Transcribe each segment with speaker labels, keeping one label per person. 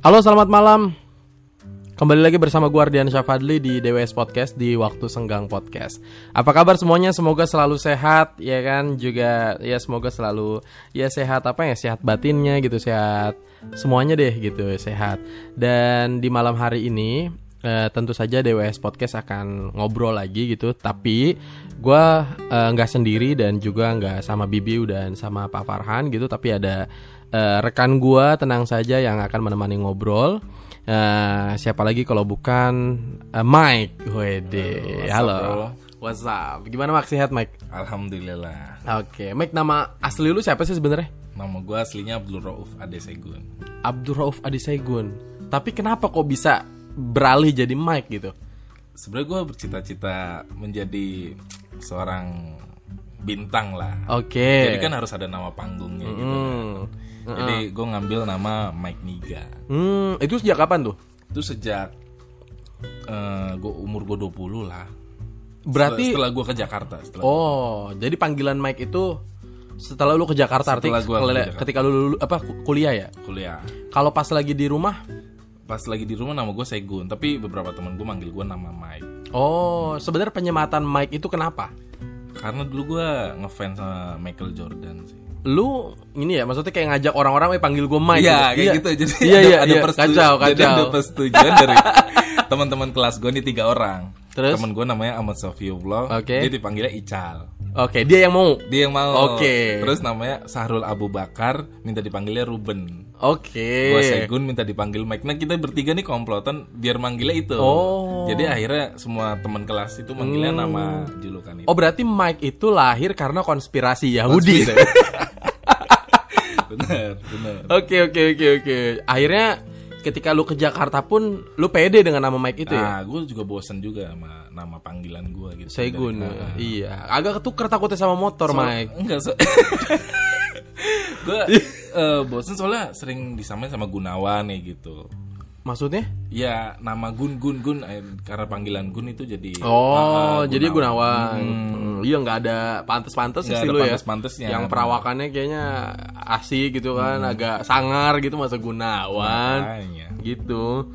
Speaker 1: Halo, selamat malam. Kembali lagi bersama gue Ardian Syafadli di DWS Podcast di Waktu Senggang Podcast. Apa kabar semuanya? Semoga selalu sehat, ya kan? Juga ya semoga selalu ya sehat apa ya? Sehat batinnya gitu, sehat semuanya deh gitu, sehat. Dan di malam hari ini eh, tentu saja DWS Podcast akan ngobrol lagi gitu, tapi gue eh, nggak sendiri dan juga nggak sama Bibiu dan sama Pak Farhan gitu, tapi ada eh, rekan gue tenang saja yang akan menemani ngobrol. Eh, siapa lagi kalau bukan eh, Mike Wede.
Speaker 2: Halo, what's up,
Speaker 1: Halo.
Speaker 2: bro?
Speaker 1: What's up? Gimana Mike sehat Mike?
Speaker 2: Alhamdulillah.
Speaker 1: Oke, Mike nama asli lu siapa sih sebenarnya?
Speaker 2: Nama gue aslinya Abdul Rauf Adesegun.
Speaker 1: Abdul Rauf Adisegun. Tapi kenapa kok bisa beralih jadi Mike gitu?
Speaker 2: Sebenarnya gue bercita-cita menjadi seorang bintang lah.
Speaker 1: Oke.
Speaker 2: Jadi kan harus ada nama panggungnya gitu.
Speaker 1: Hmm.
Speaker 2: Jadi gue ngambil nama Mike Niga.
Speaker 1: Hmm, itu sejak kapan tuh?
Speaker 2: Itu sejak eh gue umur gue 20 lah.
Speaker 1: Berarti
Speaker 2: setelah gue ke Jakarta. Setelah
Speaker 1: oh, jadi panggilan Mike itu setelah lu ke Jakarta artinya
Speaker 2: Setelah gua ke
Speaker 1: kele-
Speaker 2: Jakarta.
Speaker 1: ketika lu, lu- apa ku- kuliah ya?
Speaker 2: kuliah.
Speaker 1: Kalau pas lagi di rumah,
Speaker 2: Pas lagi di rumah nama gue Segun. Tapi beberapa teman gue manggil gue nama Mike.
Speaker 1: oh, sebenarnya penyematan Mike itu kenapa?
Speaker 2: Karena dulu gue ngefans sama Michael Jordan sih.
Speaker 1: Lu ini ya, maksudnya kayak ngajak orang-orang, eh panggil gue Mike.
Speaker 2: Iya, kayak gitu. Jadi
Speaker 1: iya,
Speaker 2: ada,
Speaker 1: iya,
Speaker 2: ada
Speaker 1: iya.
Speaker 2: persetujuan,
Speaker 1: kacau,
Speaker 2: jadi ada
Speaker 1: kacau.
Speaker 2: persetujuan dari teman-teman kelas gue nih tiga orang.
Speaker 1: Terus?
Speaker 2: Temen gue namanya Ahmad Sofiullah,
Speaker 1: Oke.
Speaker 2: dia dipanggilnya Ical.
Speaker 1: Oke, dia yang mau.
Speaker 2: Dia yang mau.
Speaker 1: Oke.
Speaker 2: Terus namanya Sahrul Abu Bakar, minta dipanggilnya Ruben.
Speaker 1: Oke.
Speaker 2: Gue Segun minta dipanggil Mike. Nah kita bertiga nih komplotan biar manggilnya itu.
Speaker 1: Oh. Hmm.
Speaker 2: Jadi akhirnya semua teman kelas itu manggilnya nama julukan itu.
Speaker 1: Oh iya. berarti Mike itu lahir karena konspirasi Yahudi.
Speaker 2: Gitu. benar, benar.
Speaker 1: Oke oke oke oke. Akhirnya ketika lu ke Jakarta pun lu pede dengan nama Mike itu ya.
Speaker 2: Nah, gue juga bosen juga sama nama panggilan gue gitu.
Speaker 1: Segun.
Speaker 2: Dari-
Speaker 1: Iya. Agak ketuker takutnya sama motor Mike.
Speaker 2: Enggak so Gue bosen soalnya sering disamain sama Gunawan ya gitu
Speaker 1: Maksudnya?
Speaker 2: Ya nama Gun Gun Gun eh, Karena panggilan Gun itu jadi
Speaker 1: Oh, jadi Gunawan. Hmm, Iya nggak ada pantas-pantas
Speaker 2: Nggak
Speaker 1: sih
Speaker 2: ada
Speaker 1: lu ya.
Speaker 2: pantes-pantesnya.
Speaker 1: Yang perawakannya kayaknya asik gitu kan, agak sangar gitu masa Gunawan.
Speaker 2: Makanya.
Speaker 1: gitu.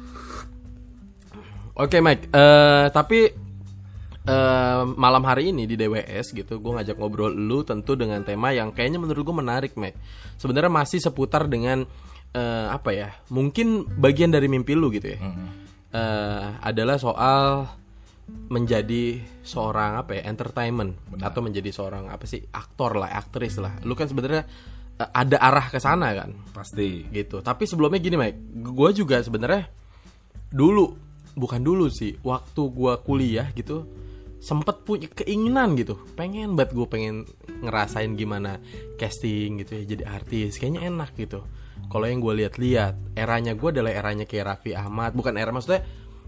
Speaker 1: Oke Mike, eh, tapi eh, malam hari ini di DWS gitu, gue ngajak ngobrol lu tentu dengan tema yang kayaknya menurut gue menarik Mike. Sebenarnya masih seputar dengan eh, apa ya? Mungkin bagian dari mimpi lu gitu ya. Eh, adalah soal menjadi seorang apa ya entertainment atau menjadi seorang apa sih aktor lah aktris lah lu kan sebenarnya eh, ada arah ke sana kan
Speaker 2: Pasti
Speaker 1: gitu. Tapi sebelumnya gini, Mike, gue juga sebenarnya dulu, bukan dulu sih, waktu gue kuliah gitu, sempet punya keinginan gitu, pengen banget gue pengen ngerasain gimana casting gitu ya, jadi artis, kayaknya enak gitu. Kalau yang gue lihat-lihat, eranya gue adalah eranya kayak Raffi Ahmad, bukan era maksudnya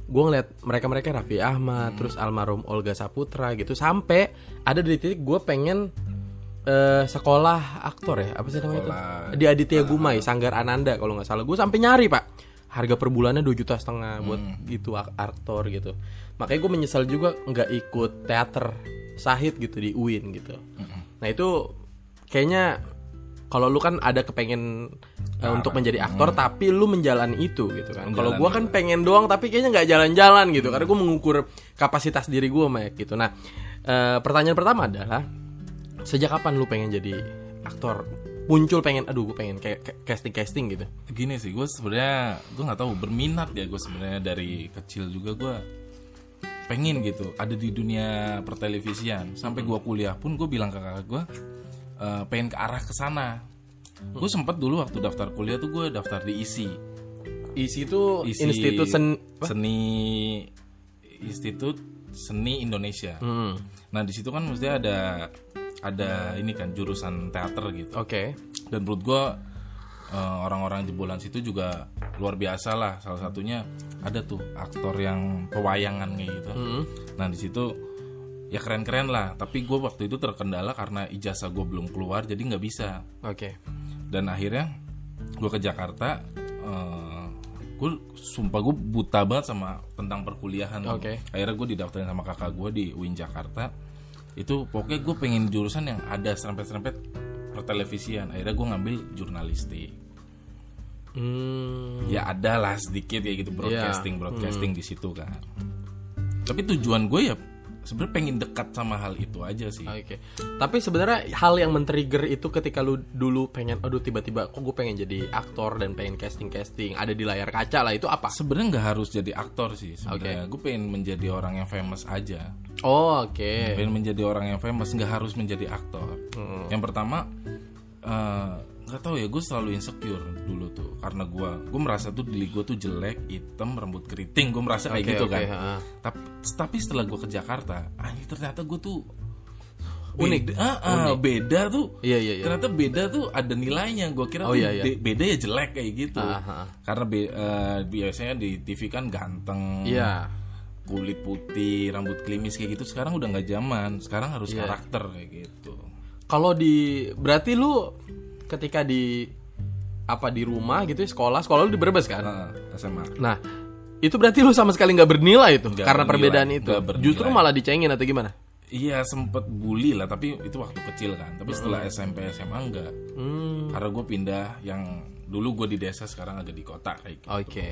Speaker 1: gue ngeliat mereka-mereka Raffi Ahmad, terus almarhum Olga Saputra gitu, sampai ada di titik gue pengen eh, sekolah aktor ya, apa sih namanya itu?
Speaker 2: Sekolah
Speaker 1: di Aditya Gumai Sanggar Ananda kalau nggak salah gue sampai nyari pak harga per bulannya dua juta setengah buat gitu ak- aktor gitu makanya gue menyesal juga nggak ikut teater sahid gitu di UIN gitu nah itu kayaknya kalau lu kan ada kepengen eh, untuk menjadi aktor tapi lu menjalani itu gitu kan kalau
Speaker 2: Menjalani.
Speaker 1: gue kan pengen doang tapi kayaknya nggak jalan-jalan gitu karena gue mengukur kapasitas diri gue Mike gitu nah eh, pertanyaan pertama adalah Sejak kapan lu pengen jadi aktor? Muncul pengen, aduh gue pengen kayak casting casting gitu.
Speaker 2: Gini sih gue sebenarnya Gue gak tahu berminat ya gue sebenarnya dari kecil juga gue pengen gitu ada di dunia pertelevisian sampai gua kuliah pun gue bilang ke kakak gue pengen ke arah ke sana gue sempet dulu waktu daftar kuliah tuh gue daftar di ISI
Speaker 1: Isi itu Oh,
Speaker 2: Isi
Speaker 1: institut sen,
Speaker 2: seni institut seni Indonesia.
Speaker 1: Hmm,
Speaker 2: Nah di situ kan mesti ada ada ini kan jurusan teater gitu.
Speaker 1: oke.
Speaker 2: Dan menurut gue orang-orang jebolan situ juga luar biasa lah. Salah satunya ada tuh aktor yang pewayangan kayak gitu.
Speaker 1: Hmm.
Speaker 2: Nah di situ ya keren-keren lah. Tapi gue waktu itu terkendala karena ijazah gue belum keluar jadi nggak bisa
Speaker 1: Oke.
Speaker 2: dan akhirnya gue ke Jakarta gue sumpah gue buta banget sama tentang perkuliahan
Speaker 1: Oke.
Speaker 2: akhirnya gue didaftarin sama kakak gue di UIN Jakarta itu pokoknya gue pengen jurusan yang ada serempet-serempet pertelevisian akhirnya gue ngambil jurnalistik
Speaker 1: Hmm.
Speaker 2: ya ada lah sedikit ya gitu broadcasting
Speaker 1: Iya.
Speaker 2: broadcasting di situ kan tapi tujuan gue ya sebenarnya pengen dekat sama hal itu aja sih
Speaker 1: Oke. Tapi sebenarnya hal yang men-trigger itu ketika lu dulu pengen aduh tiba-tiba kok gue pengen jadi aktor dan pengen casting-casting ada di layar kaca lah itu apa?
Speaker 2: sebenarnya nggak harus jadi aktor sih sebenarnya gue pengen menjadi orang yang famous aja
Speaker 1: Oh, oke.
Speaker 2: pengen menjadi orang yang famous nggak harus menjadi aktor
Speaker 1: Hmm.
Speaker 2: yang pertama eh, nggak tahu ya gue selalu insecure dulu tuh karena gue gue merasa tuh diri gue tuh jelek hitam rambut keriting gue merasa kayak
Speaker 1: Oke,
Speaker 2: gitu
Speaker 1: oke,
Speaker 2: kan
Speaker 1: ha.
Speaker 2: tapi, tapi setelah gue ke Jakarta anjir ternyata gue tuh
Speaker 1: Unik.
Speaker 2: beda, ah, ah, beda tuh
Speaker 1: Iya, iya, iya.
Speaker 2: ternyata beda tuh ada nilainya gue kira
Speaker 1: Oh,
Speaker 2: tuh
Speaker 1: iya, iya.
Speaker 2: de- beda ya jelek kayak gitu
Speaker 1: Ah, ah, ah.
Speaker 2: karena be- eh, biasanya di TV kan ganteng
Speaker 1: Iya.
Speaker 2: kulit putih, rambut klimis kayak gitu sekarang udah nggak zaman. Sekarang harus
Speaker 1: Iya.
Speaker 2: karakter kayak gitu.
Speaker 1: Kalau di berarti lu ketika di apa di rumah gitu ya, sekolah sekolah lu di Brebes kan?
Speaker 2: Nah, SMA.
Speaker 1: Nah, itu berarti lu sama sekali nggak bernilai itu
Speaker 2: Nggak
Speaker 1: karena
Speaker 2: bernilai,
Speaker 1: perbedaan itu.
Speaker 2: nggak bernilai.
Speaker 1: Justru malah dicengin atau gimana?
Speaker 2: Iya sempet bully lah, tapi itu waktu kecil kan. Tapi setelah SMP SMA enggak.
Speaker 1: Hmm.
Speaker 2: Karena gue pindah yang dulu gue di desa sekarang agak di kota kayak gitu.
Speaker 1: Oke.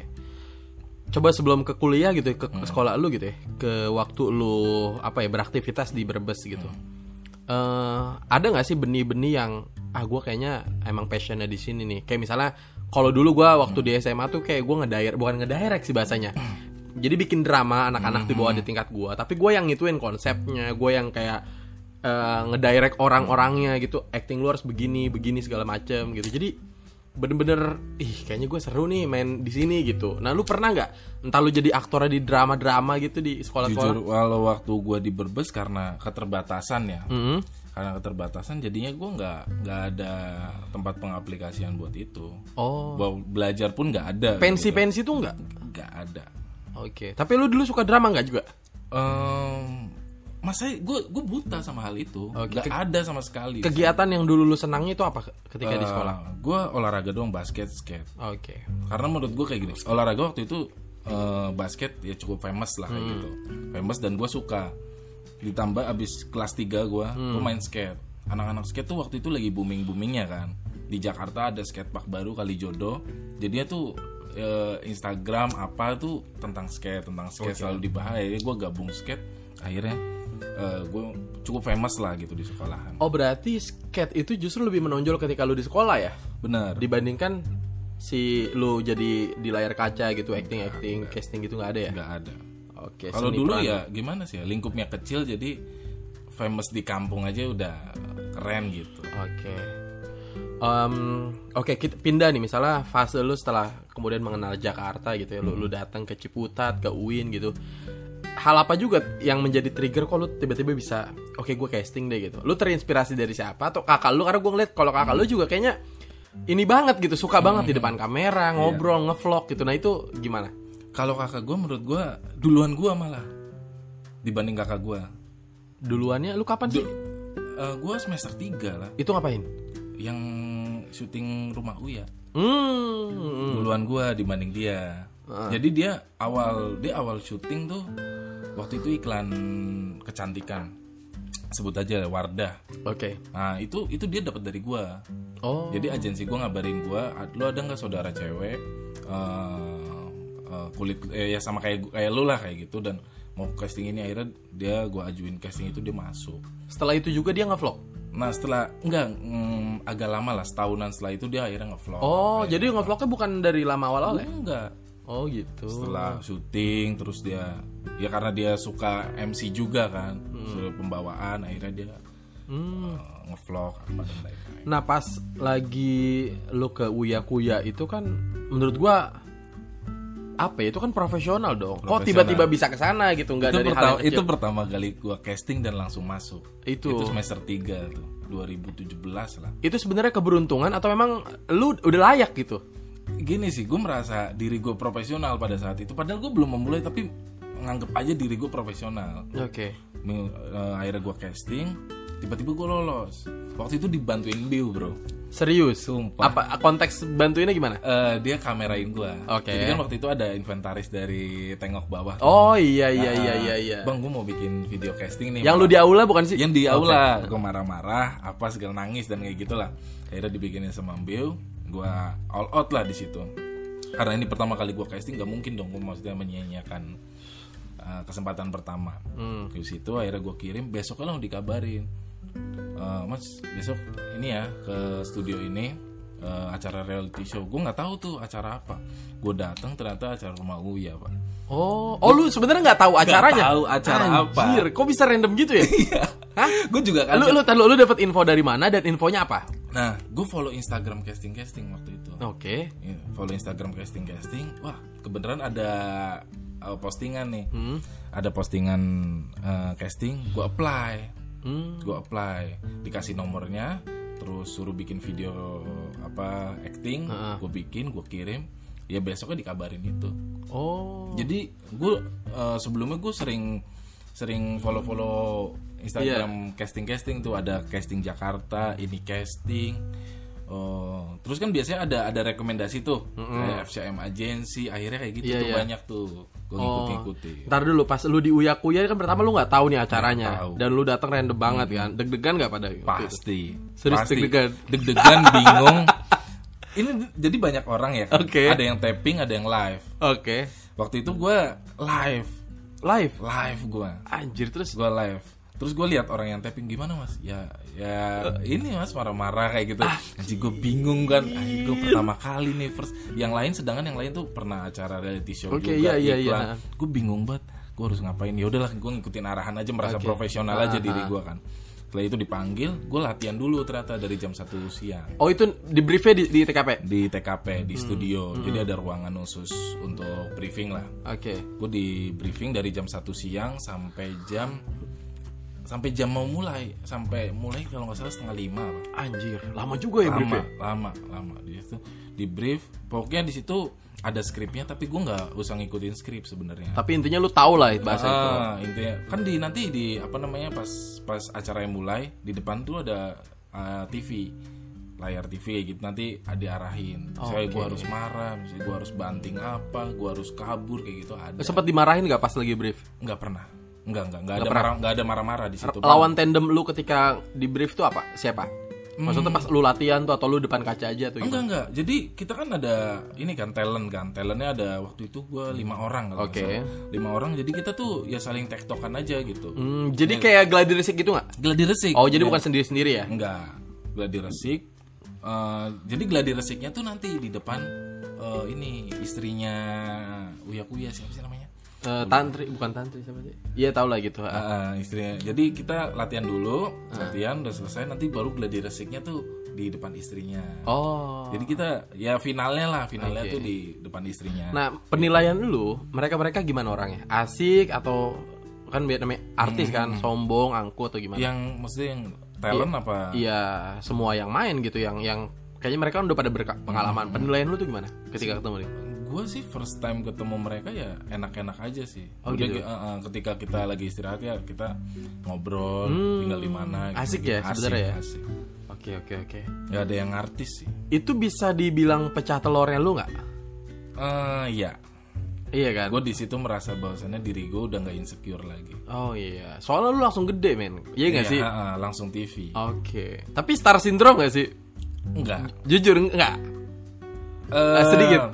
Speaker 1: Coba sebelum ke kuliah gitu, ya, ke ke sekolah lu gitu ya, ke waktu lu apa ya beraktivitas di Brebes gitu. Eh, ada nggak sih benih-benih yang ah gue kayaknya emang passionnya di sini nih. Kayak misalnya kalau dulu gua waktu di SMA tuh kayak gue ngedirect, bukan ngedirect sih bahasanya. Jadi bikin drama anak-anak di bawah di tingkat gua, tapi gue yang ngituin konsepnya, gue yang kayak eh, ngedirect orang-orangnya gitu, acting lu harus begini, begini segala macem gitu. Jadi bener-bener ih kayaknya gue seru nih main di sini gitu. Nah lu pernah nggak entah lu jadi aktor di drama-drama gitu di sekolah-sekolah?
Speaker 2: Jujur walau waktu gue di Berbes karena keterbatasan ya.
Speaker 1: Mm-mm.
Speaker 2: Karena keterbatasan jadinya gue nggak nggak ada tempat pengaplikasian buat itu.
Speaker 1: Oh
Speaker 2: Buat Belajar pun nggak ada. gitu.
Speaker 1: pensi-pensi tuh nggak?
Speaker 2: nggak ada.
Speaker 1: Oke. Tapi lu dulu suka drama nggak juga?
Speaker 2: Em, masa gue gue buta sama hal itu
Speaker 1: Oke.
Speaker 2: nggak ada sama sekali
Speaker 1: Kegiatan yang dulu lu senangnya itu apa ke- ketika
Speaker 2: Eh.
Speaker 1: di sekolah?
Speaker 2: gue olahraga doang basket skate
Speaker 1: Oke.
Speaker 2: karena menurut gue kayak gini olahraga waktu itu eh, basket ya cukup famous lah kayak gitu famous dan gue suka ditambah abis kelas 3 gue gue main skate anak-anak skate tuh waktu itu lagi booming boomingnya kan di Jakarta ada skatepark baru kali jodoh jadinya tuh eh, Instagram apa tuh tentang skate tentang skate selalu dibahas akhirnya gue gabung skate akhirnya gue cukup famous lah gitu di sekolahan
Speaker 1: Oh berarti skate itu justru lebih menonjol ketika lu di sekolah ya
Speaker 2: bener
Speaker 1: dibandingkan si lu jadi di layar kaca gitu acting acting casting gitu nggak ada ya?
Speaker 2: nggak ada
Speaker 1: Oke. Eh,
Speaker 2: Kalau
Speaker 1: seni
Speaker 2: dulu
Speaker 1: peran.
Speaker 2: ya gimana sih ya lingkupnya kecil jadi famous di kampung aja udah keren gitu.
Speaker 1: Oke. Em, Oke, kita pindah nih misalnya fase lu setelah kemudian mengenal Jakarta gitu ya, lu, lu datang ke Ciputat, ke Uin gitu. Hal apa juga yang menjadi trigger kok lu tiba-tiba bisa, oke gue casting deh gitu. Lu terinspirasi dari siapa atau kakak lu? Karena gue ngeliat kalau kakak lu juga kayaknya ini banget gitu, suka banget di depan kamera, ngobrol, ngevlog gitu. Nah itu gimana?
Speaker 2: Kalau kakak gue menurut gue duluan gue malah dibanding kakak gue.
Speaker 1: Duluannya lu kapan sih?
Speaker 2: gue semester 3 lah
Speaker 1: Itu ngapain?
Speaker 2: yang syuting rumah Uya.
Speaker 1: Hmm.
Speaker 2: Duluan gue dibanding dia. Jadi dia awal dia awal syuting tuh waktu itu iklan kecantikan sebut aja Wardah.
Speaker 1: Oke.
Speaker 2: Nah itu itu dia dapat dari gue.
Speaker 1: Oh.
Speaker 2: Jadi agensi gue ngabarin gue, lu ada nggak saudara cewek eh, eh, kulit eh, ya sama kayak gu- kayak lu lah kayak gitu dan mau casting ini akhirnya dia gue ajuin casting itu dia masuk.
Speaker 1: Setelah itu juga dia ngevlog.
Speaker 2: Nah setelah enggak mm, agak lama lah setahunan setelah itu dia akhirnya ngevlog. gitu.
Speaker 1: Oh, jadi ngevlognya bukan dari lama awal-awal ya?
Speaker 2: enggak.
Speaker 1: Oh gitu.
Speaker 2: Setelah syuting terus dia ya karena dia suka MC juga kan,
Speaker 1: Hmm.
Speaker 2: suruh pembawaan akhirnya dia eh, ngevlog apa dan lain-lain.
Speaker 1: Nah pas lagi lu ke Uya Kuya itu kan menurut gua apa ya itu kan profesional dong. Kok
Speaker 2: Profesional.
Speaker 1: tiba-tiba bisa ke sana gitu nggak
Speaker 2: itu
Speaker 1: dari hal
Speaker 2: pertama
Speaker 1: yang kecil.
Speaker 2: itu pertama kali gua casting dan langsung masuk
Speaker 1: Itu.
Speaker 2: semester 3 tuh 2017 lah
Speaker 1: Itu sebenarnya keberuntungan atau memang lu udah layak gitu?
Speaker 2: gini sih gue merasa diri gue profesional pada saat itu padahal gue belum memulai tapi nganggep aja diri gue profesional
Speaker 1: Oke.
Speaker 2: Me- eh, akhirnya gua casting tiba-tiba gue lolos waktu itu dibantuin Bill bro
Speaker 1: Serius.
Speaker 2: Sumpah.
Speaker 1: Apa konteks bantuinnya gimana?
Speaker 2: Eh, dia kamerain gua
Speaker 1: Oke.
Speaker 2: jadi kan waktu itu ada inventaris dari tengok bawah
Speaker 1: Oh iya iya iya iya iya.
Speaker 2: Nah, bang gue mau bikin video casting nih
Speaker 1: Yang lu di aula bukan sih?
Speaker 2: yang di aula gue marah-marah apa segala nangis dan kayak gitulah akhirnya dibikinin sama Mbio gue all out lah di situ karena ini pertama kali gue casting gak mungkin dong gue maksudnya menyia-nyiakan uh, kesempatan pertama
Speaker 1: Hmm.
Speaker 2: di situ akhirnya gue kirim besoknya langsung dikabarin "Eh, mas besok ini ya ke studio ini eh, acara reality show gue nggak tahu tuh acara apa gue datang ternyata acara rumah Uya pak
Speaker 1: Oh, oh lu sebenarnya nggak tahu acaranya?
Speaker 2: tahu acara apa.
Speaker 1: Anjir, kok bisa random gitu ya? Hah?
Speaker 2: gue juga
Speaker 1: Lu lu tar, lu, lu dapat info dari mana dan infonya apa?
Speaker 2: nah gue follow Instagram casting casting waktu itu
Speaker 1: Oke.
Speaker 2: Ya, follow Instagram casting casting wah kebenaran ada uh, postingan nih
Speaker 1: Hmm?
Speaker 2: ada postingan uh, casting gue apply
Speaker 1: Hmm.
Speaker 2: gue apply dikasih nomornya terus suruh bikin video apa acting
Speaker 1: Heeh.
Speaker 2: gue bikin gue kirim ya besoknya dikabarin itu
Speaker 1: Oh.
Speaker 2: jadi gue sebelumnya gue sering sering follow follow Instagram
Speaker 1: Iya.
Speaker 2: casting casting tuh ada casting Jakarta ini casting Oh, terus kan biasanya ada ada rekomendasi tuh kayak FCM agensi akhirnya kayak gitu
Speaker 1: Hmm. Iya,
Speaker 2: tuh
Speaker 1: iya.
Speaker 2: banyak tuh gue ngikutin ngikutin
Speaker 1: Ntar dulu pas lu di Uya Kuya kan pertama lu nggak tahu nih acaranya
Speaker 2: Nggak tahu.
Speaker 1: dan lu datang random banget kan. Deg-degan nggak pada? waktu itu?
Speaker 2: pasti
Speaker 1: Serius
Speaker 2: pasti.
Speaker 1: deg-degan?
Speaker 2: Deg-degan, bingung ini jadi banyak orang ya kan?
Speaker 1: Oke.
Speaker 2: ada yang tapping ada yang live
Speaker 1: Oke.
Speaker 2: waktu itu gue live
Speaker 1: Live.
Speaker 2: live gue
Speaker 1: Anjir terus.
Speaker 2: gue live terus gue lihat orang yang tapping gimana mas ya ya ini mas marah-marah kayak gitu anjing gue bingung kan gue pertama kali nih first yang lain sedangkan yang lain tuh pernah acara reality show
Speaker 1: Oke, iya,
Speaker 2: juga
Speaker 1: iya, iya.
Speaker 2: gue bingung banget gue harus ngapain ya udahlah gue ngikutin arahan aja merasa profesional
Speaker 1: Ah,
Speaker 2: aja diri gue kan setelah itu dipanggil gue latihan dulu ternyata dari jam 1 siang
Speaker 1: Oh itu di briefnya di, di TKP. Oke.
Speaker 2: di TKP
Speaker 1: Hmm.
Speaker 2: di studio jadi ada ruangan khusus untuk briefing lah gue di briefing dari jam 1 siang sampai jam sampai jam mau mulai sampai mulai kalau nggak salah setengah lima apa.
Speaker 1: Anjir, lama juga ya
Speaker 2: lama
Speaker 1: briefnya.
Speaker 2: lama lama di situ di brief pokoknya di situ ada skripnya tapi gue nggak usah ngikutin skrip sebenarnya
Speaker 1: Tapi intinya lu tahu lah bahasa itu.
Speaker 2: Ah, intinya kan di nanti di apa namanya pas pas acara yang mulai di depan tuh ada ah, TV layar TV kayak gitu nanti ah, diarahin saya gue harus marah misalnya gue harus banting apa gue harus kabur kayak gitu ada
Speaker 1: Sempat dimarahin nggak pas lagi brief?
Speaker 2: Nggak pernah. Nggak, nggak, nggak ada marah, nggak ada marah-marah di situ.
Speaker 1: Lawan tandem lu ketika di brief tuh apa? Siapa? Maksudnya pas lu latihan tuh atau lu depan kaca aja tuh gitu.
Speaker 2: Hmm. Enggak, enggak. Jadi kita kan ada ini kan talent kan. Talentnya ada waktu itu gua lima orang kalau
Speaker 1: Hmm.
Speaker 2: nggak
Speaker 1: Oke.
Speaker 2: salah. Lima orang. Jadi kita tuh ya saling tektokan aja gitu.
Speaker 1: Hmm, jadi kayak gladi resik gitu nggak?
Speaker 2: Gladi resik.
Speaker 1: Oh, jadi bukan sendiri-sendiri ya?
Speaker 2: Enggak. Gladi resik. Eh, jadi gladi resiknya tuh nanti di depan eh, ini istrinya Uya Kuya siapa sih namanya?
Speaker 1: Eh, tantri bukan tantri siapa sih? Iya tahu lah gitu. Ah,
Speaker 2: Ah, ah, istrinya. Jadi kita latihan dulu, latihan udah selesai nanti baru gladi resiknya tuh di depan istrinya.
Speaker 1: Oh.
Speaker 2: Jadi kita ya finalnya lah, finalnya tuh di depan istrinya.
Speaker 1: Nah, penilaian lu, mereka-mereka gimana orangnya? Asik atau kan biar namanya artis kan, sombong, angku atau gimana?
Speaker 2: yang maksudnya yang talent apa?
Speaker 1: Iya, semua yang main gitu yang yang kayaknya mereka kan udah pada berpengalaman. Penilaian lu tuh gimana ketika ketemu dia?
Speaker 2: Gue sih first time ketemu mereka ya enak-enak aja sih.
Speaker 1: Oh,
Speaker 2: Udah
Speaker 1: gitu?
Speaker 2: eh, eh, ketika kita lagi istirahat ya kita ngobrol, tinggal di mana.
Speaker 1: Hmm,
Speaker 2: gitu.
Speaker 1: asik ya sebenarnya ya?
Speaker 2: Asik.
Speaker 1: Oke, oke, oke.
Speaker 2: Gak ada yang artis sih.
Speaker 1: Itu bisa dibilang pecah telurnya lu nggak?
Speaker 2: Eh ya,
Speaker 1: Iya kan?
Speaker 2: gue di situ merasa bahwasannya diri gue udah nggak insecure lagi.
Speaker 1: Oh iya, soalnya lu langsung gede men, iya nggak
Speaker 2: Ya,
Speaker 1: sih?
Speaker 2: eh, eh, langsung TV.
Speaker 1: Oke, tapi star syndrome nggak sih? Oh.
Speaker 2: Enggak.
Speaker 1: Jujur nggak?
Speaker 2: Eh,
Speaker 1: sedikit.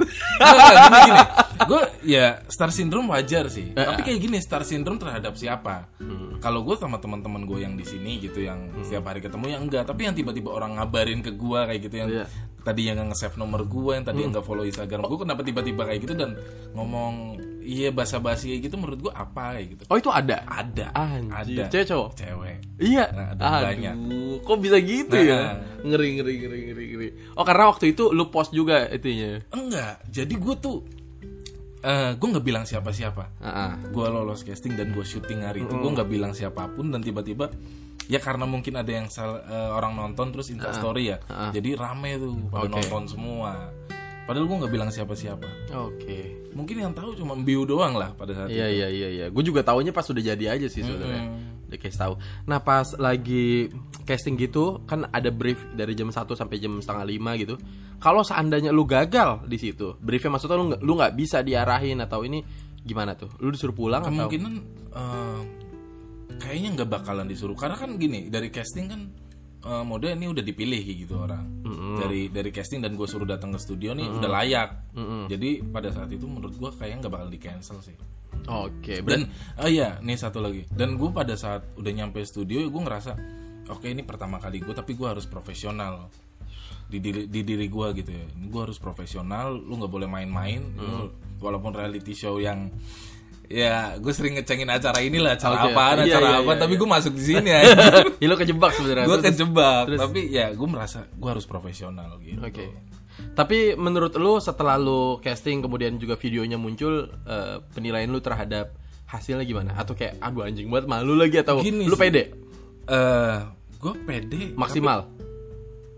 Speaker 2: gue ya star syndrome wajar sih.
Speaker 1: Eh,
Speaker 2: Tapi kayak gini star syndrome terhadap siapa?
Speaker 1: Hmm.
Speaker 2: Kalau gue sama teman-teman gue yang di sini gitu yang setiap hari ketemu yang enggak, tapi yang tiba-tiba orang ngabarin ke gue kayak gitu yang
Speaker 1: Iya. Hmm.
Speaker 2: tadi yang nggak nge-save nomor gue, yang tadi yang nggak follow Instagram gue, kenapa tiba-tiba kayak gitu dan ngomong iya basa-basi kayak gitu menurut gue apa kayak gitu?
Speaker 1: Oh itu ada?
Speaker 2: Ada,
Speaker 1: Anjir,
Speaker 2: ada.
Speaker 1: cewek cowok?
Speaker 2: Cewek.
Speaker 1: Iya.
Speaker 2: Nah, ada
Speaker 1: Aduh,
Speaker 2: banyak.
Speaker 1: kok bisa gitu
Speaker 2: Nah.
Speaker 1: ya? Ngeri ngeri ngeri ngeri ngeri. Oh karena waktu itu lu post juga itunya.
Speaker 2: Enggak. Jadi gue tuh eh gue nggak bilang siapa-siapa.
Speaker 1: Heeh.
Speaker 2: gue lolos casting dan gue syuting hari itu gue nggak bilang siapapun dan tiba-tiba ya karena mungkin ada yang sal- eh, orang nonton terus instastory ya jadi rame tuh pada nonton semua padahal gue nggak bilang siapa-siapa
Speaker 1: Oke.
Speaker 2: mungkin yang tahu cuma Mbiu doang lah pada saat
Speaker 1: Iya iya iya iya. Gue juga taunya pas udah jadi aja sih sebenarnya. Udah case tahu. Nah pas lagi casting gitu kan ada brief dari jam 1 sampai jam setengah lima gitu. Kalau seandainya lu gagal di situ, briefnya maksudnya lu nggak lu nggak bisa diarahin atau ini gimana tuh? Lu disuruh pulang atau?
Speaker 2: kemungkinan eh, kayaknya nggak bakalan disuruh karena kan gini dari casting kan eh, mode ini udah dipilih kayak gitu orang dari dari casting dan gue suruh datang ke studio nih udah layak jadi pada saat itu menurut gue kayaknya nggak bakal di cancel sih
Speaker 1: Oke, ber-
Speaker 2: dan oh iya nih satu lagi dan gue pada saat udah nyampe studio gue ngerasa oke ini pertama kali gue tapi gue harus profesional di diri, di diri gue gitu ya gue harus profesional lu nggak boleh main-main
Speaker 1: Hmm.
Speaker 2: Lu- walaupun reality show yang ya gue sering ngecengin acara inilah acara
Speaker 1: Oke,
Speaker 2: apaan
Speaker 1: iya,
Speaker 2: acara
Speaker 1: iya,
Speaker 2: apa
Speaker 1: iya,
Speaker 2: tapi
Speaker 1: iya.
Speaker 2: gue masuk di sini ya
Speaker 1: Ih, lo kejebak sebenarnya.
Speaker 2: gue
Speaker 1: Terus-
Speaker 2: kejebak tapi ya gue merasa gue harus profesional gitu
Speaker 1: Oke. Tapi menurut lu setelah lu casting kemudian juga videonya muncul eh, penilaian lu terhadap hasilnya gimana? Atau kayak aduh anjing buat malu lagi atau
Speaker 2: Gini
Speaker 1: lu
Speaker 2: sih.
Speaker 1: pede
Speaker 2: eh gue pede
Speaker 1: maksimal?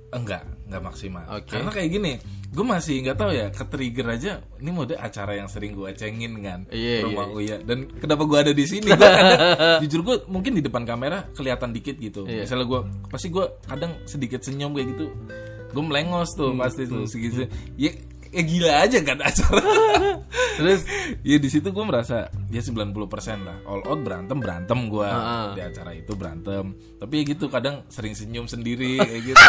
Speaker 2: enggak enggak maksimal
Speaker 1: Oke.
Speaker 2: karena kayak gini gue masih nggak tahu ya ke trigger aja ini mode acara yang sering gue cengin kan
Speaker 1: Iya,
Speaker 2: rumah Uya dan kenapa gue ada di sini Gua kadang- jujur gue mungkin di depan kamera kelihatan dikit gitu
Speaker 1: Iya.
Speaker 2: misalnya gue pasti gue kadang sedikit senyum kayak gitu gue melengos
Speaker 1: Hmm,
Speaker 2: tuh pasti tuh segitu ya, ya gila aja kan acara
Speaker 1: Terus
Speaker 2: ya di situ gue merasa ya 90% lah all out berantem berantem gue
Speaker 1: Ah.
Speaker 2: di acara itu berantem tapi ya gitu kadang sering senyum sendiri kayak gitu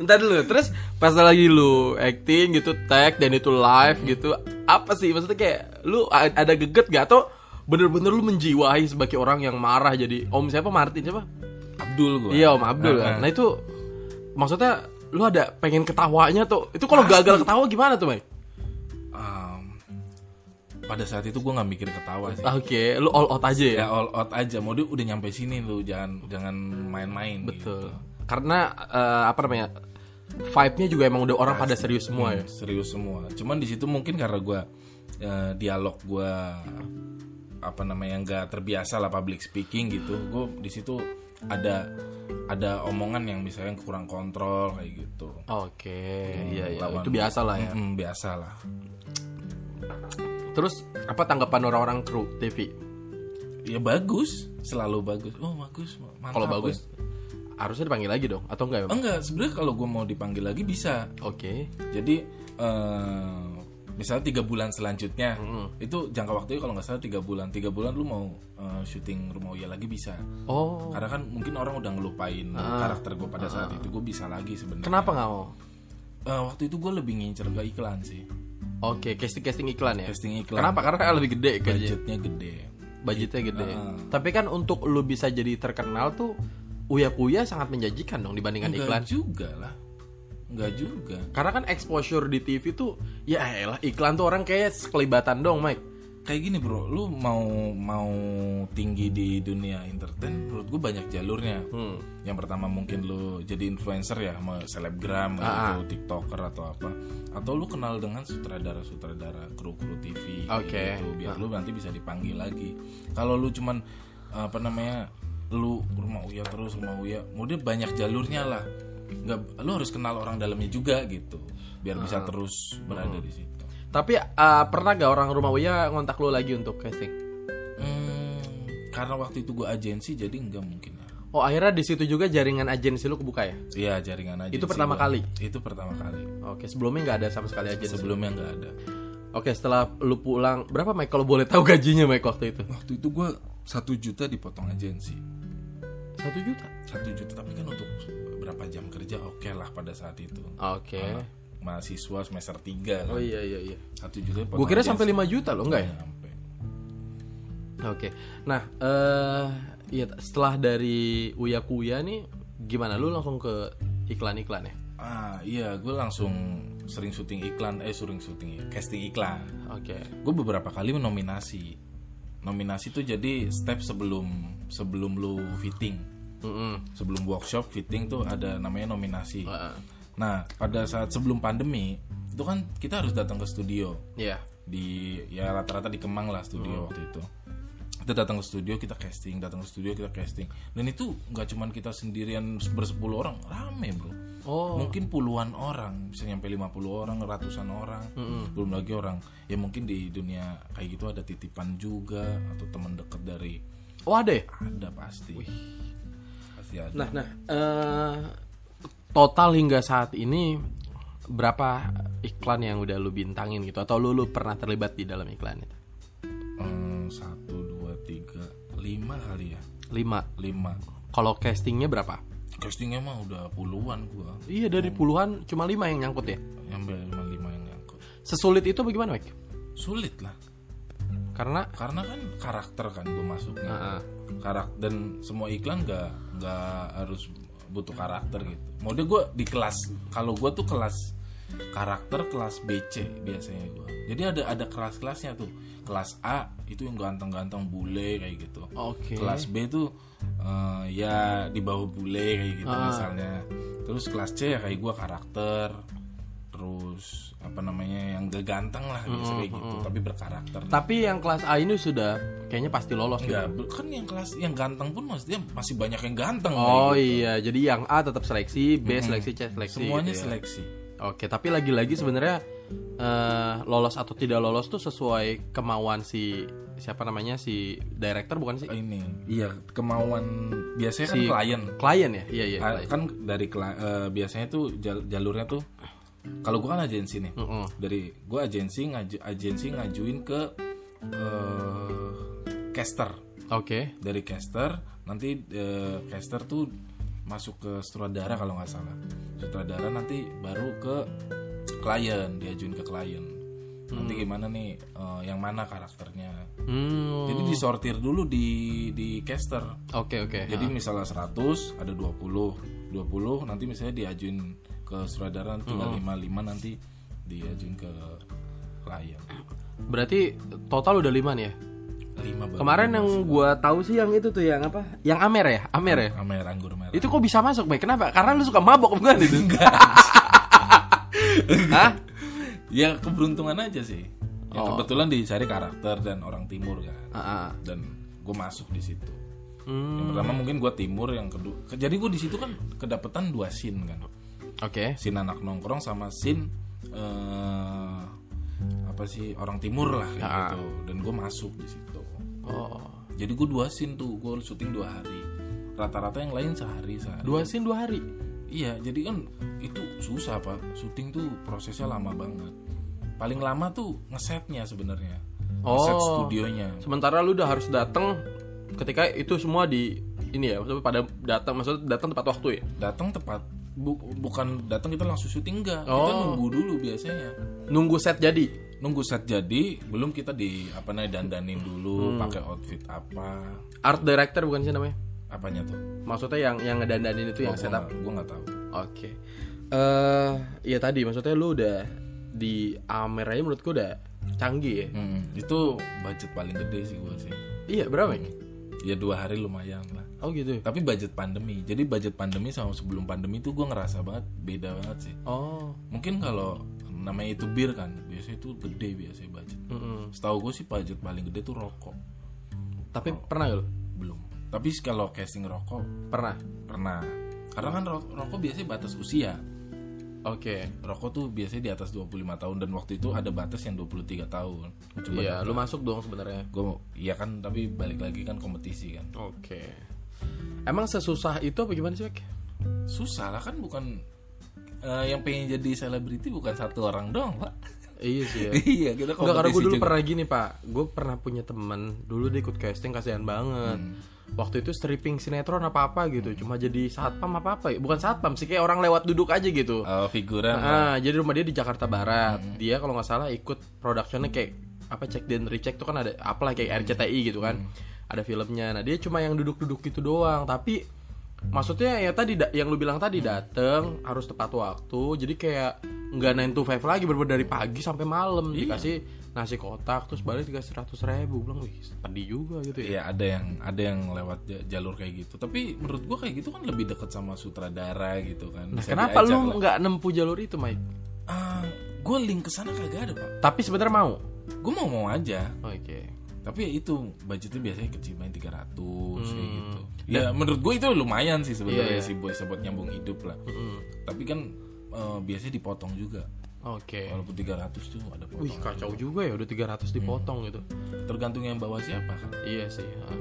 Speaker 1: entar dulu. Terus pas lagi lu acting gitu tag dan itu live gitu apa sih maksudnya kayak lu a- ada geget gak atau bener-bener lu menjiwai sebagai orang yang marah jadi Om siapa Martin siapa?
Speaker 2: Abdul gue
Speaker 1: Iya Om Abdul kan. Nah itu maksudnya lu ada pengen ketawanya tuh. Itu kalau gagal ketawa gimana tuh, Mike?
Speaker 2: Um, pada saat itu gue nggak mikir ketawa sih
Speaker 1: Oke, lu all out aja ya.
Speaker 2: ya all out aja mode udah nyampe sini lu jangan jangan main-main
Speaker 1: Betul.
Speaker 2: gitu.
Speaker 1: Karena eh, apa namanya? Vibe-nya juga emang udah orang pada serius semua ya.
Speaker 2: serius semua cuman di situ mungkin karena gue dialog gue apa namanya nggak terbiasa lah public speaking gitu gue di situ ada ada omongan yang misalnya kurang kontrol kayak gitu
Speaker 1: Oke, iya iya.
Speaker 2: Hmm, lawan.
Speaker 1: Itu biasa lah ya.
Speaker 2: Mm, biasa lah
Speaker 1: Terus apa tanggapan orang-orang kru TV?
Speaker 2: ya bagus selalu bagus oh bagus mantap
Speaker 1: Kalau bagus harusnya dipanggil lagi dong atau enggak?
Speaker 2: Oh,
Speaker 1: emang?
Speaker 2: enggak sebenarnya kalau gue mau dipanggil lagi bisa
Speaker 1: Oke.
Speaker 2: Jadi eh, misalnya tiga bulan selanjutnya
Speaker 1: Hmm.
Speaker 2: itu jangka waktunya kalau nggak salah tiga bulan. Tiga bulan lu mau eh, syuting rumah Uya lagi bisa.
Speaker 1: Oh,
Speaker 2: Karena kan mungkin orang udah ngelupain
Speaker 1: Ah.
Speaker 2: karakter gue pada saat itu gue bisa lagi sebenarnya.
Speaker 1: kenapa nggak mau?
Speaker 2: Eh, waktu itu gue lebih ngincer ke iklan sih.
Speaker 1: Oke, casting-casting iklan ya.
Speaker 2: Casting iklan.
Speaker 1: Kenapa? Karena lebih gede kan.
Speaker 2: Budgetnya gede.
Speaker 1: budgetnya gede. Tapi kan untuk lu bisa jadi terkenal tuh Uya Kuya sangat menjanjikan dong dibandingkan Kan iklan.
Speaker 2: Enggak juga lah. Enggak juga.
Speaker 1: Karena kan exposure di TV tuh ya elah iklan tuh orang kayak sekelibatan dong, Mike.
Speaker 2: Kayak gini bro, lu mau mau tinggi di dunia entertain, menurut gue banyak jalurnya. yang pertama mungkin lu jadi influencer ya sama selebgram atau tiktoker atau apa atau lu kenal dengan sutradara sutradara kru kru tv
Speaker 1: Oke.
Speaker 2: kayak gitu biar lu nanti bisa dipanggil lagi kalau lu cuman apa namanya lu rumah uya terus rumah uya mode banyak jalurnya lah nggak lu harus kenal orang dalamnya juga gitu biar bisa terus berada di situ
Speaker 1: Tapi eh, pernah gak orang rumah Uya ngontak lu lagi untuk casting?
Speaker 2: Hmm, karena waktu itu gua agensi jadi nggak mungkin ya
Speaker 1: Oh, akhirnya di situ juga jaringan agensi lu kebuka ya?
Speaker 2: Iya jaringan aja
Speaker 1: Itu pertama kali?
Speaker 2: Itu pertama kali
Speaker 1: Oke, sebelumnya nggak ada sama sekali agensi.
Speaker 2: Sebelumnya nggak ada
Speaker 1: Oke, setelah lu pulang, berapa Mike kalau boleh tahu gajinya Mike waktu itu?
Speaker 2: waktu itu gue satu juta dipotong agensi
Speaker 1: Satu juta.
Speaker 2: satu juta tapi kan untuk berapa jam kerja oke lah pada saat itu
Speaker 1: Oke.
Speaker 2: mahasiswa semester 3
Speaker 1: Oh
Speaker 2: kan
Speaker 1: iya iya iya.
Speaker 2: satu juta dipotong
Speaker 1: Gue kira
Speaker 2: agensi. Iya.
Speaker 1: sampai 5 juta loh, enggak ya?
Speaker 2: Nggak sampai.
Speaker 1: Oke. Nah, eh ya setelah dari Uya Kuya nih gimana lu langsung ke iklan-iklan ya?
Speaker 2: ah iya gue langsung sering syuting iklan eh sering syuting casting iklan
Speaker 1: Oke.
Speaker 2: gue beberapa kali nominasi nominasi tuh jadi step sebelum sebelum lu fitting
Speaker 1: Mm-mm.
Speaker 2: sebelum workshop fitting tuh ada namanya nominasi
Speaker 1: Heeh.
Speaker 2: nah pada saat sebelum pandemi itu kan kita harus datang ke studio
Speaker 1: Iya.
Speaker 2: di ya rata-rata di Kemang lah studio
Speaker 1: Oh.
Speaker 2: waktu itu kita datang ke studio kita casting datang ke studio kita casting dan itu nggak cuman kita sendirian bersepuluh orang rame bro
Speaker 1: Oh,
Speaker 2: mungkin puluhan orang bisa nyampe 50 orang ratusan orang belum lagi orang ya mungkin di dunia kayak gitu ada titipan juga atau teman dekat dari
Speaker 1: oh ada ya?
Speaker 2: ada pasti pasti ada
Speaker 1: Nah, nah, eh total hingga saat ini berapa iklan yang udah lu bintangin gitu atau lu, lu pernah terlibat di dalam iklan itu?
Speaker 2: Eh, Hmm, satu dua tiga lima kali ya
Speaker 1: 5.
Speaker 2: lima
Speaker 1: Kalau castingnya berapa?
Speaker 2: castingnya mah udah puluhan gua
Speaker 1: Iya dari puluhan cuma lima yang nyangkut ya.
Speaker 2: yang lima lima yang nyangkut
Speaker 1: Sesulit itu bagaimana, Mike?
Speaker 2: sulit lah
Speaker 1: Karena
Speaker 2: karena kan karakter kan gue masuknya
Speaker 1: Heeh.
Speaker 2: karakter dan semua iklan nggak nggak harus butuh karakter gitu mode gue di kelas kalau gue tuh kelas karakter kelas BC biasanya gue jadi ada ada kelas kelasnya tuh kelas A itu yang ganteng-ganteng bule kayak gitu
Speaker 1: Oke.
Speaker 2: kelas B tuh eh, ya di bawah bule kayak gitu
Speaker 1: Ah.
Speaker 2: misalnya terus kelas C ya kayak gue karakter terus apa namanya yang gak ganteng lah biasa kayak gitu tapi berkarakter
Speaker 1: Hmm, Tapi yang kelas A ini sudah kayaknya pasti lolos gitu.
Speaker 2: Enggak, kan yang kelas yang ganteng pun maksudnya masih banyak yang ganteng.
Speaker 1: Oh
Speaker 2: kayak gitu.
Speaker 1: iya, jadi yang A tetap seleksi, B seleksi, C seleksi.
Speaker 2: Semuanya
Speaker 1: gitu ya.
Speaker 2: seleksi.
Speaker 1: Oke, tapi lagi-lagi sebenarnya eh, lolos atau tidak lolos tuh sesuai kemauan si siapa namanya si director bukan sih?
Speaker 2: Ini. Iya, kemauan biasanya kan
Speaker 1: Si-
Speaker 2: klien.
Speaker 1: Klien ya? Iya iya.
Speaker 2: Ah,
Speaker 1: klien.
Speaker 2: Kan dari kla- eh, biasanya tuh jal- jalurnya tuh kalau gua kan agensi nih.
Speaker 1: Mm-mm.
Speaker 2: Dari gua agensi ngaju- agensi ngajuin ke eh, caster.
Speaker 1: Oke.
Speaker 2: Dari caster nanti eh, caster tuh masuk ke sutradara kalau nggak salah. Sutradara nanti baru ke klien, diajuin ke klien. Nanti gimana nih eh, yang mana karakternya.
Speaker 1: Hmm.
Speaker 2: Jadi disortir dulu di di caster.
Speaker 1: Oke oke.
Speaker 2: Jadi misalnya 100 ada 20. 20 nanti misalnya diajuin ke sutradara
Speaker 1: Hmm.
Speaker 2: tinggal 55 nanti diajuin ke klien.
Speaker 1: Berarti total udah lima nih ya.
Speaker 2: 5
Speaker 1: Kemarin yang gua tahu sih yang itu tuh yang apa? Yang Amer ya? Amer ya?
Speaker 2: kamera anggur merah.
Speaker 1: Itu kok bisa masuk, Baik? Kenapa? Karena lu suka mabok bukan itu? Hah?
Speaker 2: Ya keberuntungan aja sih. Ya,
Speaker 1: Oh.
Speaker 2: kebetulan dicari karakter dan orang timur kan.
Speaker 1: Ah, ah.
Speaker 2: Dan gue masuk di situ.
Speaker 1: Hmm,
Speaker 2: Yang pertama mungkin gue timur, yang kedua. ke- Jadi gue di situ kan kedapetan dua scene kan.
Speaker 1: Oke.
Speaker 2: Scene anak nongkrong sama scene eh, apa sih orang timur lah kayak
Speaker 1: Ah.
Speaker 2: gitu. Dan gue masuk di situ.
Speaker 1: Oh.
Speaker 2: Jadi gue dua scene tuh, gue syuting dua hari. Rata-rata yang lain sehari sehari.
Speaker 1: Dua scene dua hari.
Speaker 2: Iya, jadi kan itu susah pak. Syuting tuh prosesnya lama banget. Paling lama tuh ngesetnya sebenarnya. Ngeset
Speaker 1: Oh.
Speaker 2: studionya.
Speaker 1: Sementara lu udah harus datang ketika itu semua di ini ya, maksudnya pada datang maksudnya datang tepat waktu ya.
Speaker 2: Datang tepat. Bu- bukan datang kita langsung syuting enggak. Kita
Speaker 1: Oh.
Speaker 2: nunggu dulu biasanya.
Speaker 1: Nunggu set jadi.
Speaker 2: Nunggu set jadi, belum kita di apa namanya dandanin dulu, pakai outfit apa,
Speaker 1: Art director bukan sih namanya?
Speaker 2: apanya tuh?
Speaker 1: Maksudnya yang yang ngedandanin itu yang Iya, setup.
Speaker 2: Gue nggak tahu.
Speaker 1: Oke. Eh, iya tadi maksudnya lu udah di Amer aja menurut gua udah canggih ya.
Speaker 2: Hmm, itu budget paling gede sih gue sih.
Speaker 1: Iya, berapa? Mike?
Speaker 2: Ya dua hari lumayan lah.
Speaker 1: Oh gitu.
Speaker 2: Tapi budget pandemi. Jadi budget pandemi sama sebelum pandemi tuh gue ngerasa banget beda banget sih.
Speaker 1: Oh.
Speaker 2: mungkin kalau namanya itu bir kan biasanya itu gede biasanya budget
Speaker 1: Mm-mm.
Speaker 2: setahu gue sih budget paling gede tuh rokok
Speaker 1: Tapi pernah gak lu?
Speaker 2: belum tapi kalau casting rokok
Speaker 1: Pernah.
Speaker 2: pernah karena kan ro- rokok biasanya batas usia
Speaker 1: Oke.
Speaker 2: rokok tuh biasanya di atas 25 tahun dan waktu itu ada batas yang 23 tahun Gua coba
Speaker 1: Iya, lu masuk dong sebenarnya.
Speaker 2: gue iya kan tapi balik lagi kan kompetisi kan
Speaker 1: Oke. Emang sesusah itu apa gimana sih, Mike?
Speaker 2: susah lah kan bukan eh, yang pengen jadi selebriti bukan satu orang doang pak
Speaker 1: Iya sih ya.
Speaker 2: iya kita kompetisi
Speaker 1: Enggak, karena gue dulu
Speaker 2: juga.
Speaker 1: pernah gini pak Gue pernah punya temen Dulu dia ikut casting kasihan banget
Speaker 2: Hmm.
Speaker 1: Waktu itu stripping sinetron apa-apa gitu Cuma jadi satpam apa-apa ya. Bukan satpam sih Kayak orang lewat duduk aja gitu
Speaker 2: Eh, figuran
Speaker 1: Ah, Jadi rumah dia di Jakarta Barat
Speaker 2: Hmm.
Speaker 1: Dia kalau nggak salah ikut productionnya kayak Apa cek dan recheck tuh kan ada Apalah kayak RCTI gitu kan
Speaker 2: Hmm.
Speaker 1: Ada filmnya Nah dia cuma yang duduk-duduk gitu doang Tapi Maksudnya ya tadi da- yang lu bilang
Speaker 2: Hmm.
Speaker 1: tadi dateng harus tepat waktu jadi kayak nggak 9 to 5 lagi bener dari pagi sampai malam
Speaker 2: Iya.
Speaker 1: dikasih nasi kotak terus balik dikasih seratus ribu bilang wih pedih juga gitu ya
Speaker 2: Iya ada yang ada yang lewat ja- jalur kayak gitu. Tapi menurut gua kayak gitu kan lebih deket sama sutradara gitu kan.
Speaker 1: nah
Speaker 2: Bisa
Speaker 1: kenapa lu
Speaker 2: diajak lah.
Speaker 1: nggak nempuh jalur itu Mike
Speaker 2: Ah, gua link ke sana kagak ada pak.
Speaker 1: tapi sebenarnya mau
Speaker 2: Gua mau mau aja.
Speaker 1: oke
Speaker 2: Tapi ya itu budgetnya biasanya kecil main 300 kayak gitu. Ya menurut gua itu lumayan sih
Speaker 1: Hmm. Iya,
Speaker 2: sebenarnya
Speaker 1: Hmm. iya.
Speaker 2: sih buat buat nyambung hidup lah. Tapi kan eh, biasanya dipotong juga.
Speaker 1: oke
Speaker 2: Walaupun 300 tuh
Speaker 1: wih
Speaker 2: ada potong. gitu. Iya.
Speaker 1: kacau juga ya udah 300 dipotong gitu
Speaker 2: Tergantung yang bawa siapa kan.
Speaker 1: iya sih ha.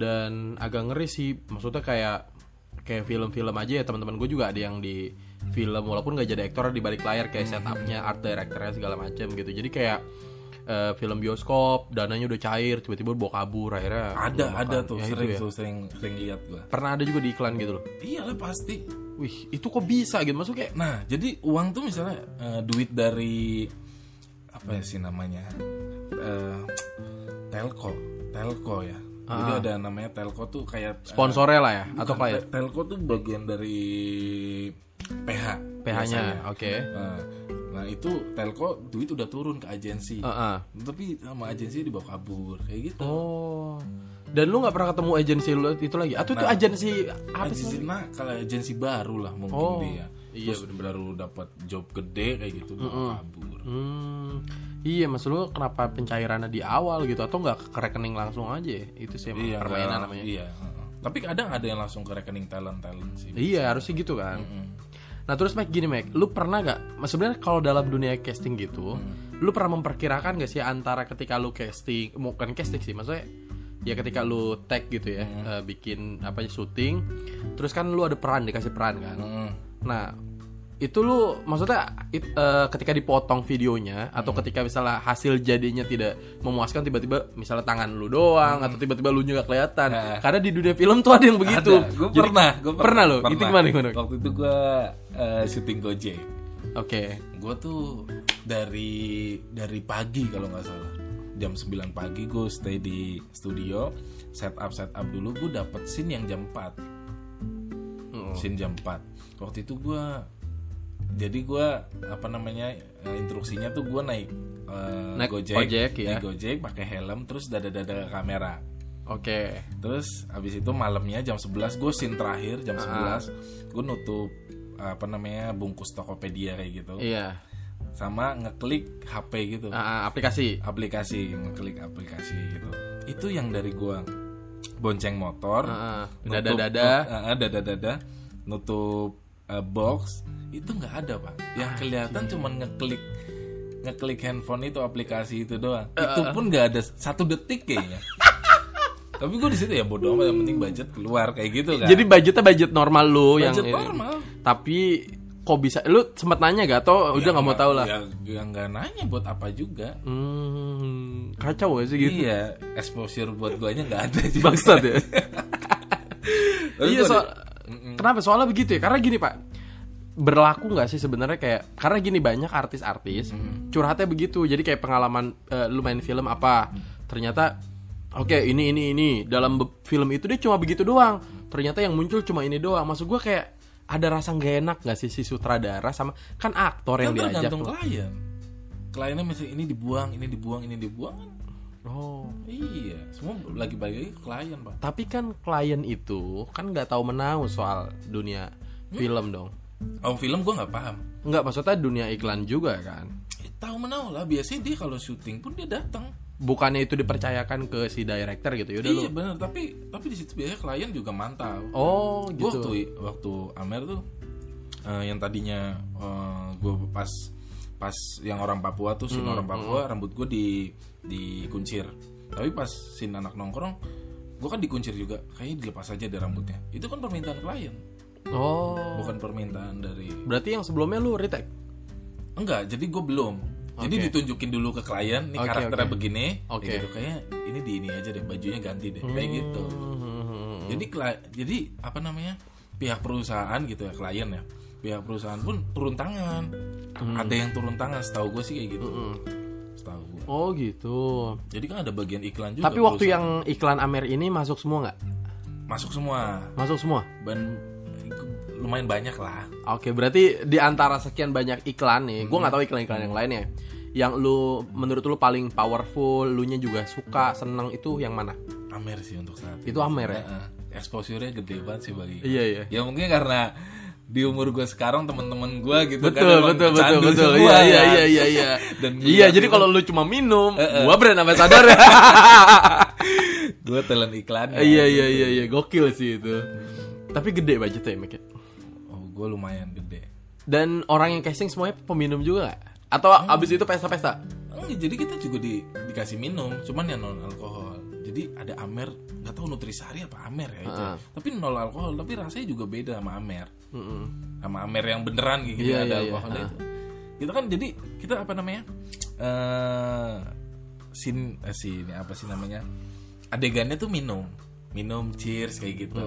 Speaker 1: dan agak ngeri sih maksudnya kayak kayak film-film aja ya teman-teman gue juga ada yang di film walaupun nggak jadi aktor di balik layar kayak setupnya art directornya segala macam gitu jadi kayak eh, film bioskop dananya udah cair tiba-tiba bawa kabur akhirnya
Speaker 2: ada
Speaker 1: nggak
Speaker 2: ada
Speaker 1: makan.
Speaker 2: tuh
Speaker 1: Ya, itu
Speaker 2: sering
Speaker 1: ya.
Speaker 2: tuh sering sering lihat gua
Speaker 1: pernah ada juga di iklan gitu loh
Speaker 2: iyalah pasti
Speaker 1: wih itu kok bisa gitu maksudnya kayak
Speaker 2: nah jadi uang tuh misalnya eh, duit dari apa ya sih namanya Eh, telco telco ya jadi
Speaker 1: Ah.
Speaker 2: ada namanya telco tuh kayak eh,
Speaker 1: sponsornya lah ya atau
Speaker 2: Bukan,
Speaker 1: klien
Speaker 2: Te- Telco tuh bagian dari PH.
Speaker 1: PH-nya
Speaker 2: biasanya.
Speaker 1: oke
Speaker 2: Nah, nah, itu Telco duit udah turun ke agensi.
Speaker 1: Heeh.
Speaker 2: Tapi sama agensi dibawa kabur kayak gitu.
Speaker 1: Eh. oh dan lu nggak pernah ketemu agensi lu itu lagi atau
Speaker 2: Nah,
Speaker 1: itu
Speaker 2: eh,
Speaker 1: agensi apa sih
Speaker 2: agensi nah kalau agensi baru lah mungkin
Speaker 1: Oh,
Speaker 2: dia.
Speaker 1: iya,
Speaker 2: Terus baru dapat job gede kayak gitu bawa kabur.
Speaker 1: Hmm, iya maksud lu kenapa pencairannya di awal gitu atau nggak ke rekening langsung aja ya? itu sih emang permainan
Speaker 2: Iya, nggak-
Speaker 1: namanya
Speaker 2: Iya. heeh. Tapi kadang ada yang langsung ke rekening talent talent sih.
Speaker 1: iya harusnya gitu kan nah terus Mac gini Mac lu pernah nggak sebenarnya kalau dalam dunia casting gitu
Speaker 2: Mm.
Speaker 1: lu pernah memperkirakan gak sih antara ketika lu casting bukan casting sih maksudnya ya ketika lu tag gitu ya
Speaker 2: Mm.
Speaker 1: eh, bikin apa ya, syuting terus kan lu ada peran dikasih peran kan
Speaker 2: Heeh.
Speaker 1: Nah, itu lu maksudnya it- eh, ketika dipotong videonya atau
Speaker 2: Hmm.
Speaker 1: ketika misalnya hasil jadinya tidak memuaskan tiba-tiba misalnya tangan lu doang
Speaker 2: Hmm.
Speaker 1: atau tiba-tiba lu juga kelihatan.
Speaker 2: Nah.
Speaker 1: Karena di dunia film tuh ada yang begitu.
Speaker 2: Ada. Gitu. Gua
Speaker 1: Jadi-
Speaker 2: pernah, gua
Speaker 1: pernah loh. Itu gimana, gimana?
Speaker 2: Waktu itu gue syuting Gojek.
Speaker 1: Oke.
Speaker 2: Gue tuh dari dari pagi kalau nggak salah jam 9 pagi gue stay di studio set up set up dulu gue dapet scene yang jam 4
Speaker 1: Mm.
Speaker 2: scene jam 4 waktu itu gue jadi gue apa namanya eh, instruksinya tuh gue naik eh,
Speaker 1: Naik
Speaker 2: gojek,
Speaker 1: ojek, ya.
Speaker 2: naik gojek pakai helm terus dada dada ke kamera
Speaker 1: Oke.
Speaker 2: Terus abis itu malamnya jam 11 gue scene terakhir
Speaker 1: Ah.
Speaker 2: jam 11 gue nutup apa namanya bungkus Tokopedia kayak gitu
Speaker 1: Iya.
Speaker 2: sama ngeklik HP gitu
Speaker 1: Ah, aplikasi.
Speaker 2: aplikasi ngeklik aplikasi gitu itu yang dari gua bonceng motor
Speaker 1: Ah, ah.
Speaker 2: nutup-
Speaker 1: Dada-dada.
Speaker 2: Ah, ah, dada-dada nutup eh, box itu nggak ada pak
Speaker 1: Ah,
Speaker 2: yang kelihatan cuman ngeklik ngeklik handphone itu aplikasi itu doang
Speaker 1: Ah,
Speaker 2: itu pun nggak ada satu detik kayaknya tapi gue di situ ya bodo amat yang penting budget keluar kayak gitu kan
Speaker 1: Jadi budgetnya budget normal lu yang
Speaker 2: budget
Speaker 1: ini.
Speaker 2: normal
Speaker 1: Tapi kok bisa lu sempat nanya gak atau udah nggak mau tahu lah.
Speaker 2: ya, ya nggak nanya buat apa juga
Speaker 1: Hmm, kacau gak sih gitu.
Speaker 2: iya exposure buat guanya nggak ada juga.
Speaker 1: Bangsat ya.
Speaker 2: Tapi
Speaker 1: iya
Speaker 2: gua
Speaker 1: soal
Speaker 2: ada-
Speaker 1: kenapa soalnya begitu ya karena gini pak berlaku nggak sih sebenarnya kayak karena gini banyak artis-artis curhatnya begitu jadi kayak pengalaman eh, lu main film apa ternyata oke ini ini ini dalam be- film itu dia cuma begitu doang ternyata yang muncul cuma ini doang maksud gua kayak ada rasa nggak enak nggak sih si sutradara sama kan aktor yang
Speaker 2: kan
Speaker 1: diajak
Speaker 2: tergantung
Speaker 1: tuh.
Speaker 2: klien kliennya misalnya ini dibuang ini dibuang ini dibuang kan
Speaker 1: oh
Speaker 2: iya semua lagi balik lagi ke klien pak
Speaker 1: tapi kan klien itu kan nggak tahu menau soal dunia
Speaker 2: Hmm?
Speaker 1: film dong
Speaker 2: oh film gua nggak paham
Speaker 1: nggak maksudnya dunia iklan juga kan
Speaker 2: Eh, tahu menahu lah biasanya dia kalau syuting pun dia datang
Speaker 1: bukannya itu dipercayakan ke si director gitu yaudah lu
Speaker 2: iya bener tapi tapi di situ biasanya klien juga mantau
Speaker 1: oh
Speaker 2: Gua
Speaker 1: gitu
Speaker 2: waktu waktu Amer tuh eh, yang tadinya gue pas pas yang orang Papua tuh
Speaker 1: Hmm,
Speaker 2: sin orang Papua rambut gue di dikuncir tapi pas sin anak nongkrong gue kan dikuncir juga kayaknya dilepas aja deh rambutnya itu kan permintaan klien
Speaker 1: oh
Speaker 2: bukan permintaan dari
Speaker 1: berarti yang sebelumnya lu retake
Speaker 2: enggak jadi gue belum jadi
Speaker 1: Oke.
Speaker 2: ditunjukin dulu ke klien nih
Speaker 1: Oke,
Speaker 2: karakternya
Speaker 1: oke.
Speaker 2: begini
Speaker 1: Oke.
Speaker 2: kayak gitu kayaknya ini di ini aja deh bajunya ganti deh kayak gitu
Speaker 1: Hmm.
Speaker 2: Jadi kla- jadi apa namanya? pihak perusahaan gitu ya, klien ya. Pihak perusahaan pun turun tangan.
Speaker 1: Hmm.
Speaker 2: Ada yang turun tangan, setahu gue sih kayak gitu. Setahu gue.
Speaker 1: oh gitu
Speaker 2: Jadi kan ada bagian iklan juga.
Speaker 1: tapi waktu ya-
Speaker 2: perusahaan.
Speaker 1: yang iklan Amer ini masuk semua nggak
Speaker 2: masuk semua.
Speaker 1: masuk semua
Speaker 2: Ben lumayan banyak lah.
Speaker 1: oke berarti di antara sekian banyak iklan nih gua
Speaker 2: Mm-hmm.
Speaker 1: nggak tahu iklan-iklan yang lainnya yang lu menurut lu paling powerful lu nya juga suka seneng itu yang mana
Speaker 2: Amer sih untuk saat ini.
Speaker 1: itu Amer ya
Speaker 2: Heeh. Exposure-nya gede banget sih bagi.
Speaker 1: iya iya
Speaker 2: Ya mungkin karena di umur gue sekarang teman-teman gue gitu kan
Speaker 1: betul
Speaker 2: emang
Speaker 1: betul betul
Speaker 2: candu
Speaker 1: betul iya
Speaker 2: semua
Speaker 1: iya
Speaker 2: kan.
Speaker 1: iya iya iya
Speaker 2: Dan
Speaker 1: iya
Speaker 2: gua-
Speaker 1: jadi kalau lu cuma minum gua brand ambassador ya
Speaker 2: Gue talent iklan.
Speaker 1: iya iya iya iya gokil sih itu tapi gede budgetnya ya Mike ya?
Speaker 2: Oh, gue lumayan gede.
Speaker 1: dan orang yang casting semuanya peminum juga nggak? atau
Speaker 2: Hmm.
Speaker 1: abis itu pesta-pesta
Speaker 2: Enggak, jadi kita juga di- dikasih minum, cuman yang non alkohol. Jadi ada amer, nggak tahu nutrisari apa amer ya itu.
Speaker 1: Heeh.
Speaker 2: Tapi nol alkohol, tapi rasanya juga beda sama amer. Sama amer yang beneran gitu
Speaker 1: Iya, iya,
Speaker 2: ada
Speaker 1: iya.
Speaker 2: alkoholnya itu. Gitu kan jadi kita apa namanya? eh sin eh, sin apa sih namanya adegannya tuh minum minum cheers kayak gitu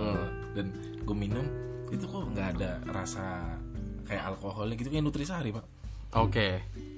Speaker 2: dan gue minum itu kok nggak ada rasa kayak alkoholnya gitu kayak nutrisari pak
Speaker 1: Oke.